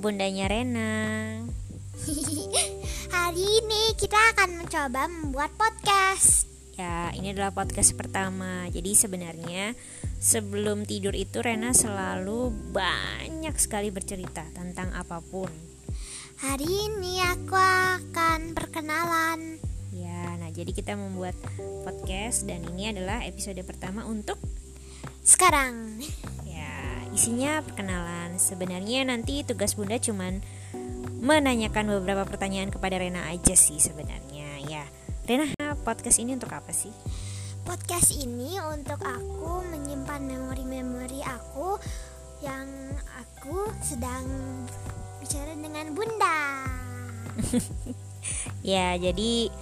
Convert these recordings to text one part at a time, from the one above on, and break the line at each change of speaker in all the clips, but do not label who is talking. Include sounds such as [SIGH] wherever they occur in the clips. bundanya Rena.
[LAUGHS] Hari ini kita akan mencoba membuat podcast.
Ya, ini adalah podcast pertama. Jadi sebenarnya sebelum tidur itu Rena selalu banyak sekali bercerita tentang apapun.
Hari ini aku akan perkenalan.
Ya, nah jadi kita membuat podcast dan ini adalah episode pertama untuk
Sekarang,
ya isinya perkenalan. Sebenarnya nanti tugas Bunda cuman menanyakan beberapa pertanyaan kepada Rena aja sih sebenarnya ya. Rena, podcast ini untuk apa sih?
podcast ini untuk aku menyimpan memori-memori aku yang aku sedang bicara dengan Bunda.
Ya, jadi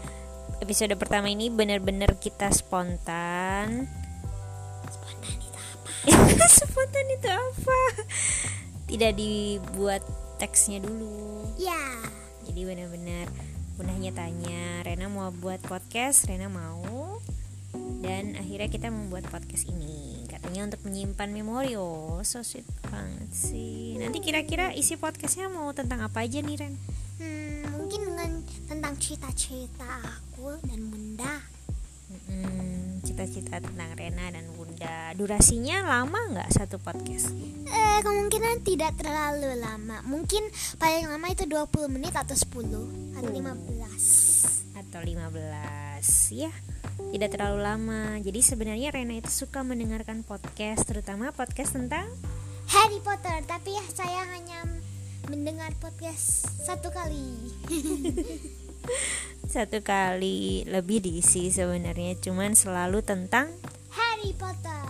episode pertama ini benar-benar kita spontan. [LAUGHS]
Spontan itu apa?
spontan itu apa? Tidak dibuat teksnya dulu.
Ya,
Jadi benar-benar bundanya tanya, Rena mau buat podcast, Rena mau. Dan akhirnya kita membuat podcast ini. Katanya untuk menyimpan memori. Oh, so sweet banget sih. Nanti kira-kira isi podcastnya mau tentang apa aja nih, Ren?
hmm, mungkin dengan tentang cerita-cerita aku dan Bunda.
Mm-mm, cita-cita tentang Rena dan Bunda. Durasinya lama nggak satu podcast?
Eh, kemungkinan tidak terlalu lama. Mungkin paling lama itu 20 menit atau 10
Oh.
atau 15.
atau 15 ya tidak terlalu lama jadi sebenarnya Rena itu suka mendengarkan podcast terutama podcast tentang
Harry Potter, tapi ya saya hanya mendengar podcast satu kali.
satu kali lebih diisi sebenarnya cuman selalu tentang
Harry Potter.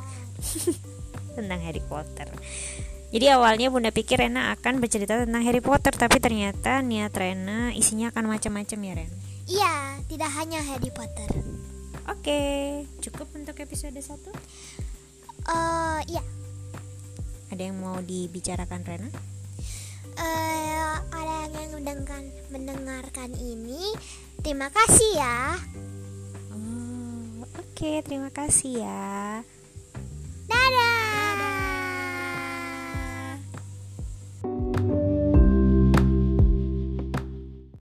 tentang Harry Potter jadi awalnya Bunda pikir Rena akan bercerita tentang Harry Potter tapi ternyata niat Rena isinya akan macam-macam ya Ren
Iya, tidak hanya Harry Potter.
oke cukup untuk episode 1
Eh, iya.
ada yang mau dibicarakan Rena
Eh, orang yang mendengarkan mendengarkan ini, terima kasih ya.
Oh, oke, terima kasih ya.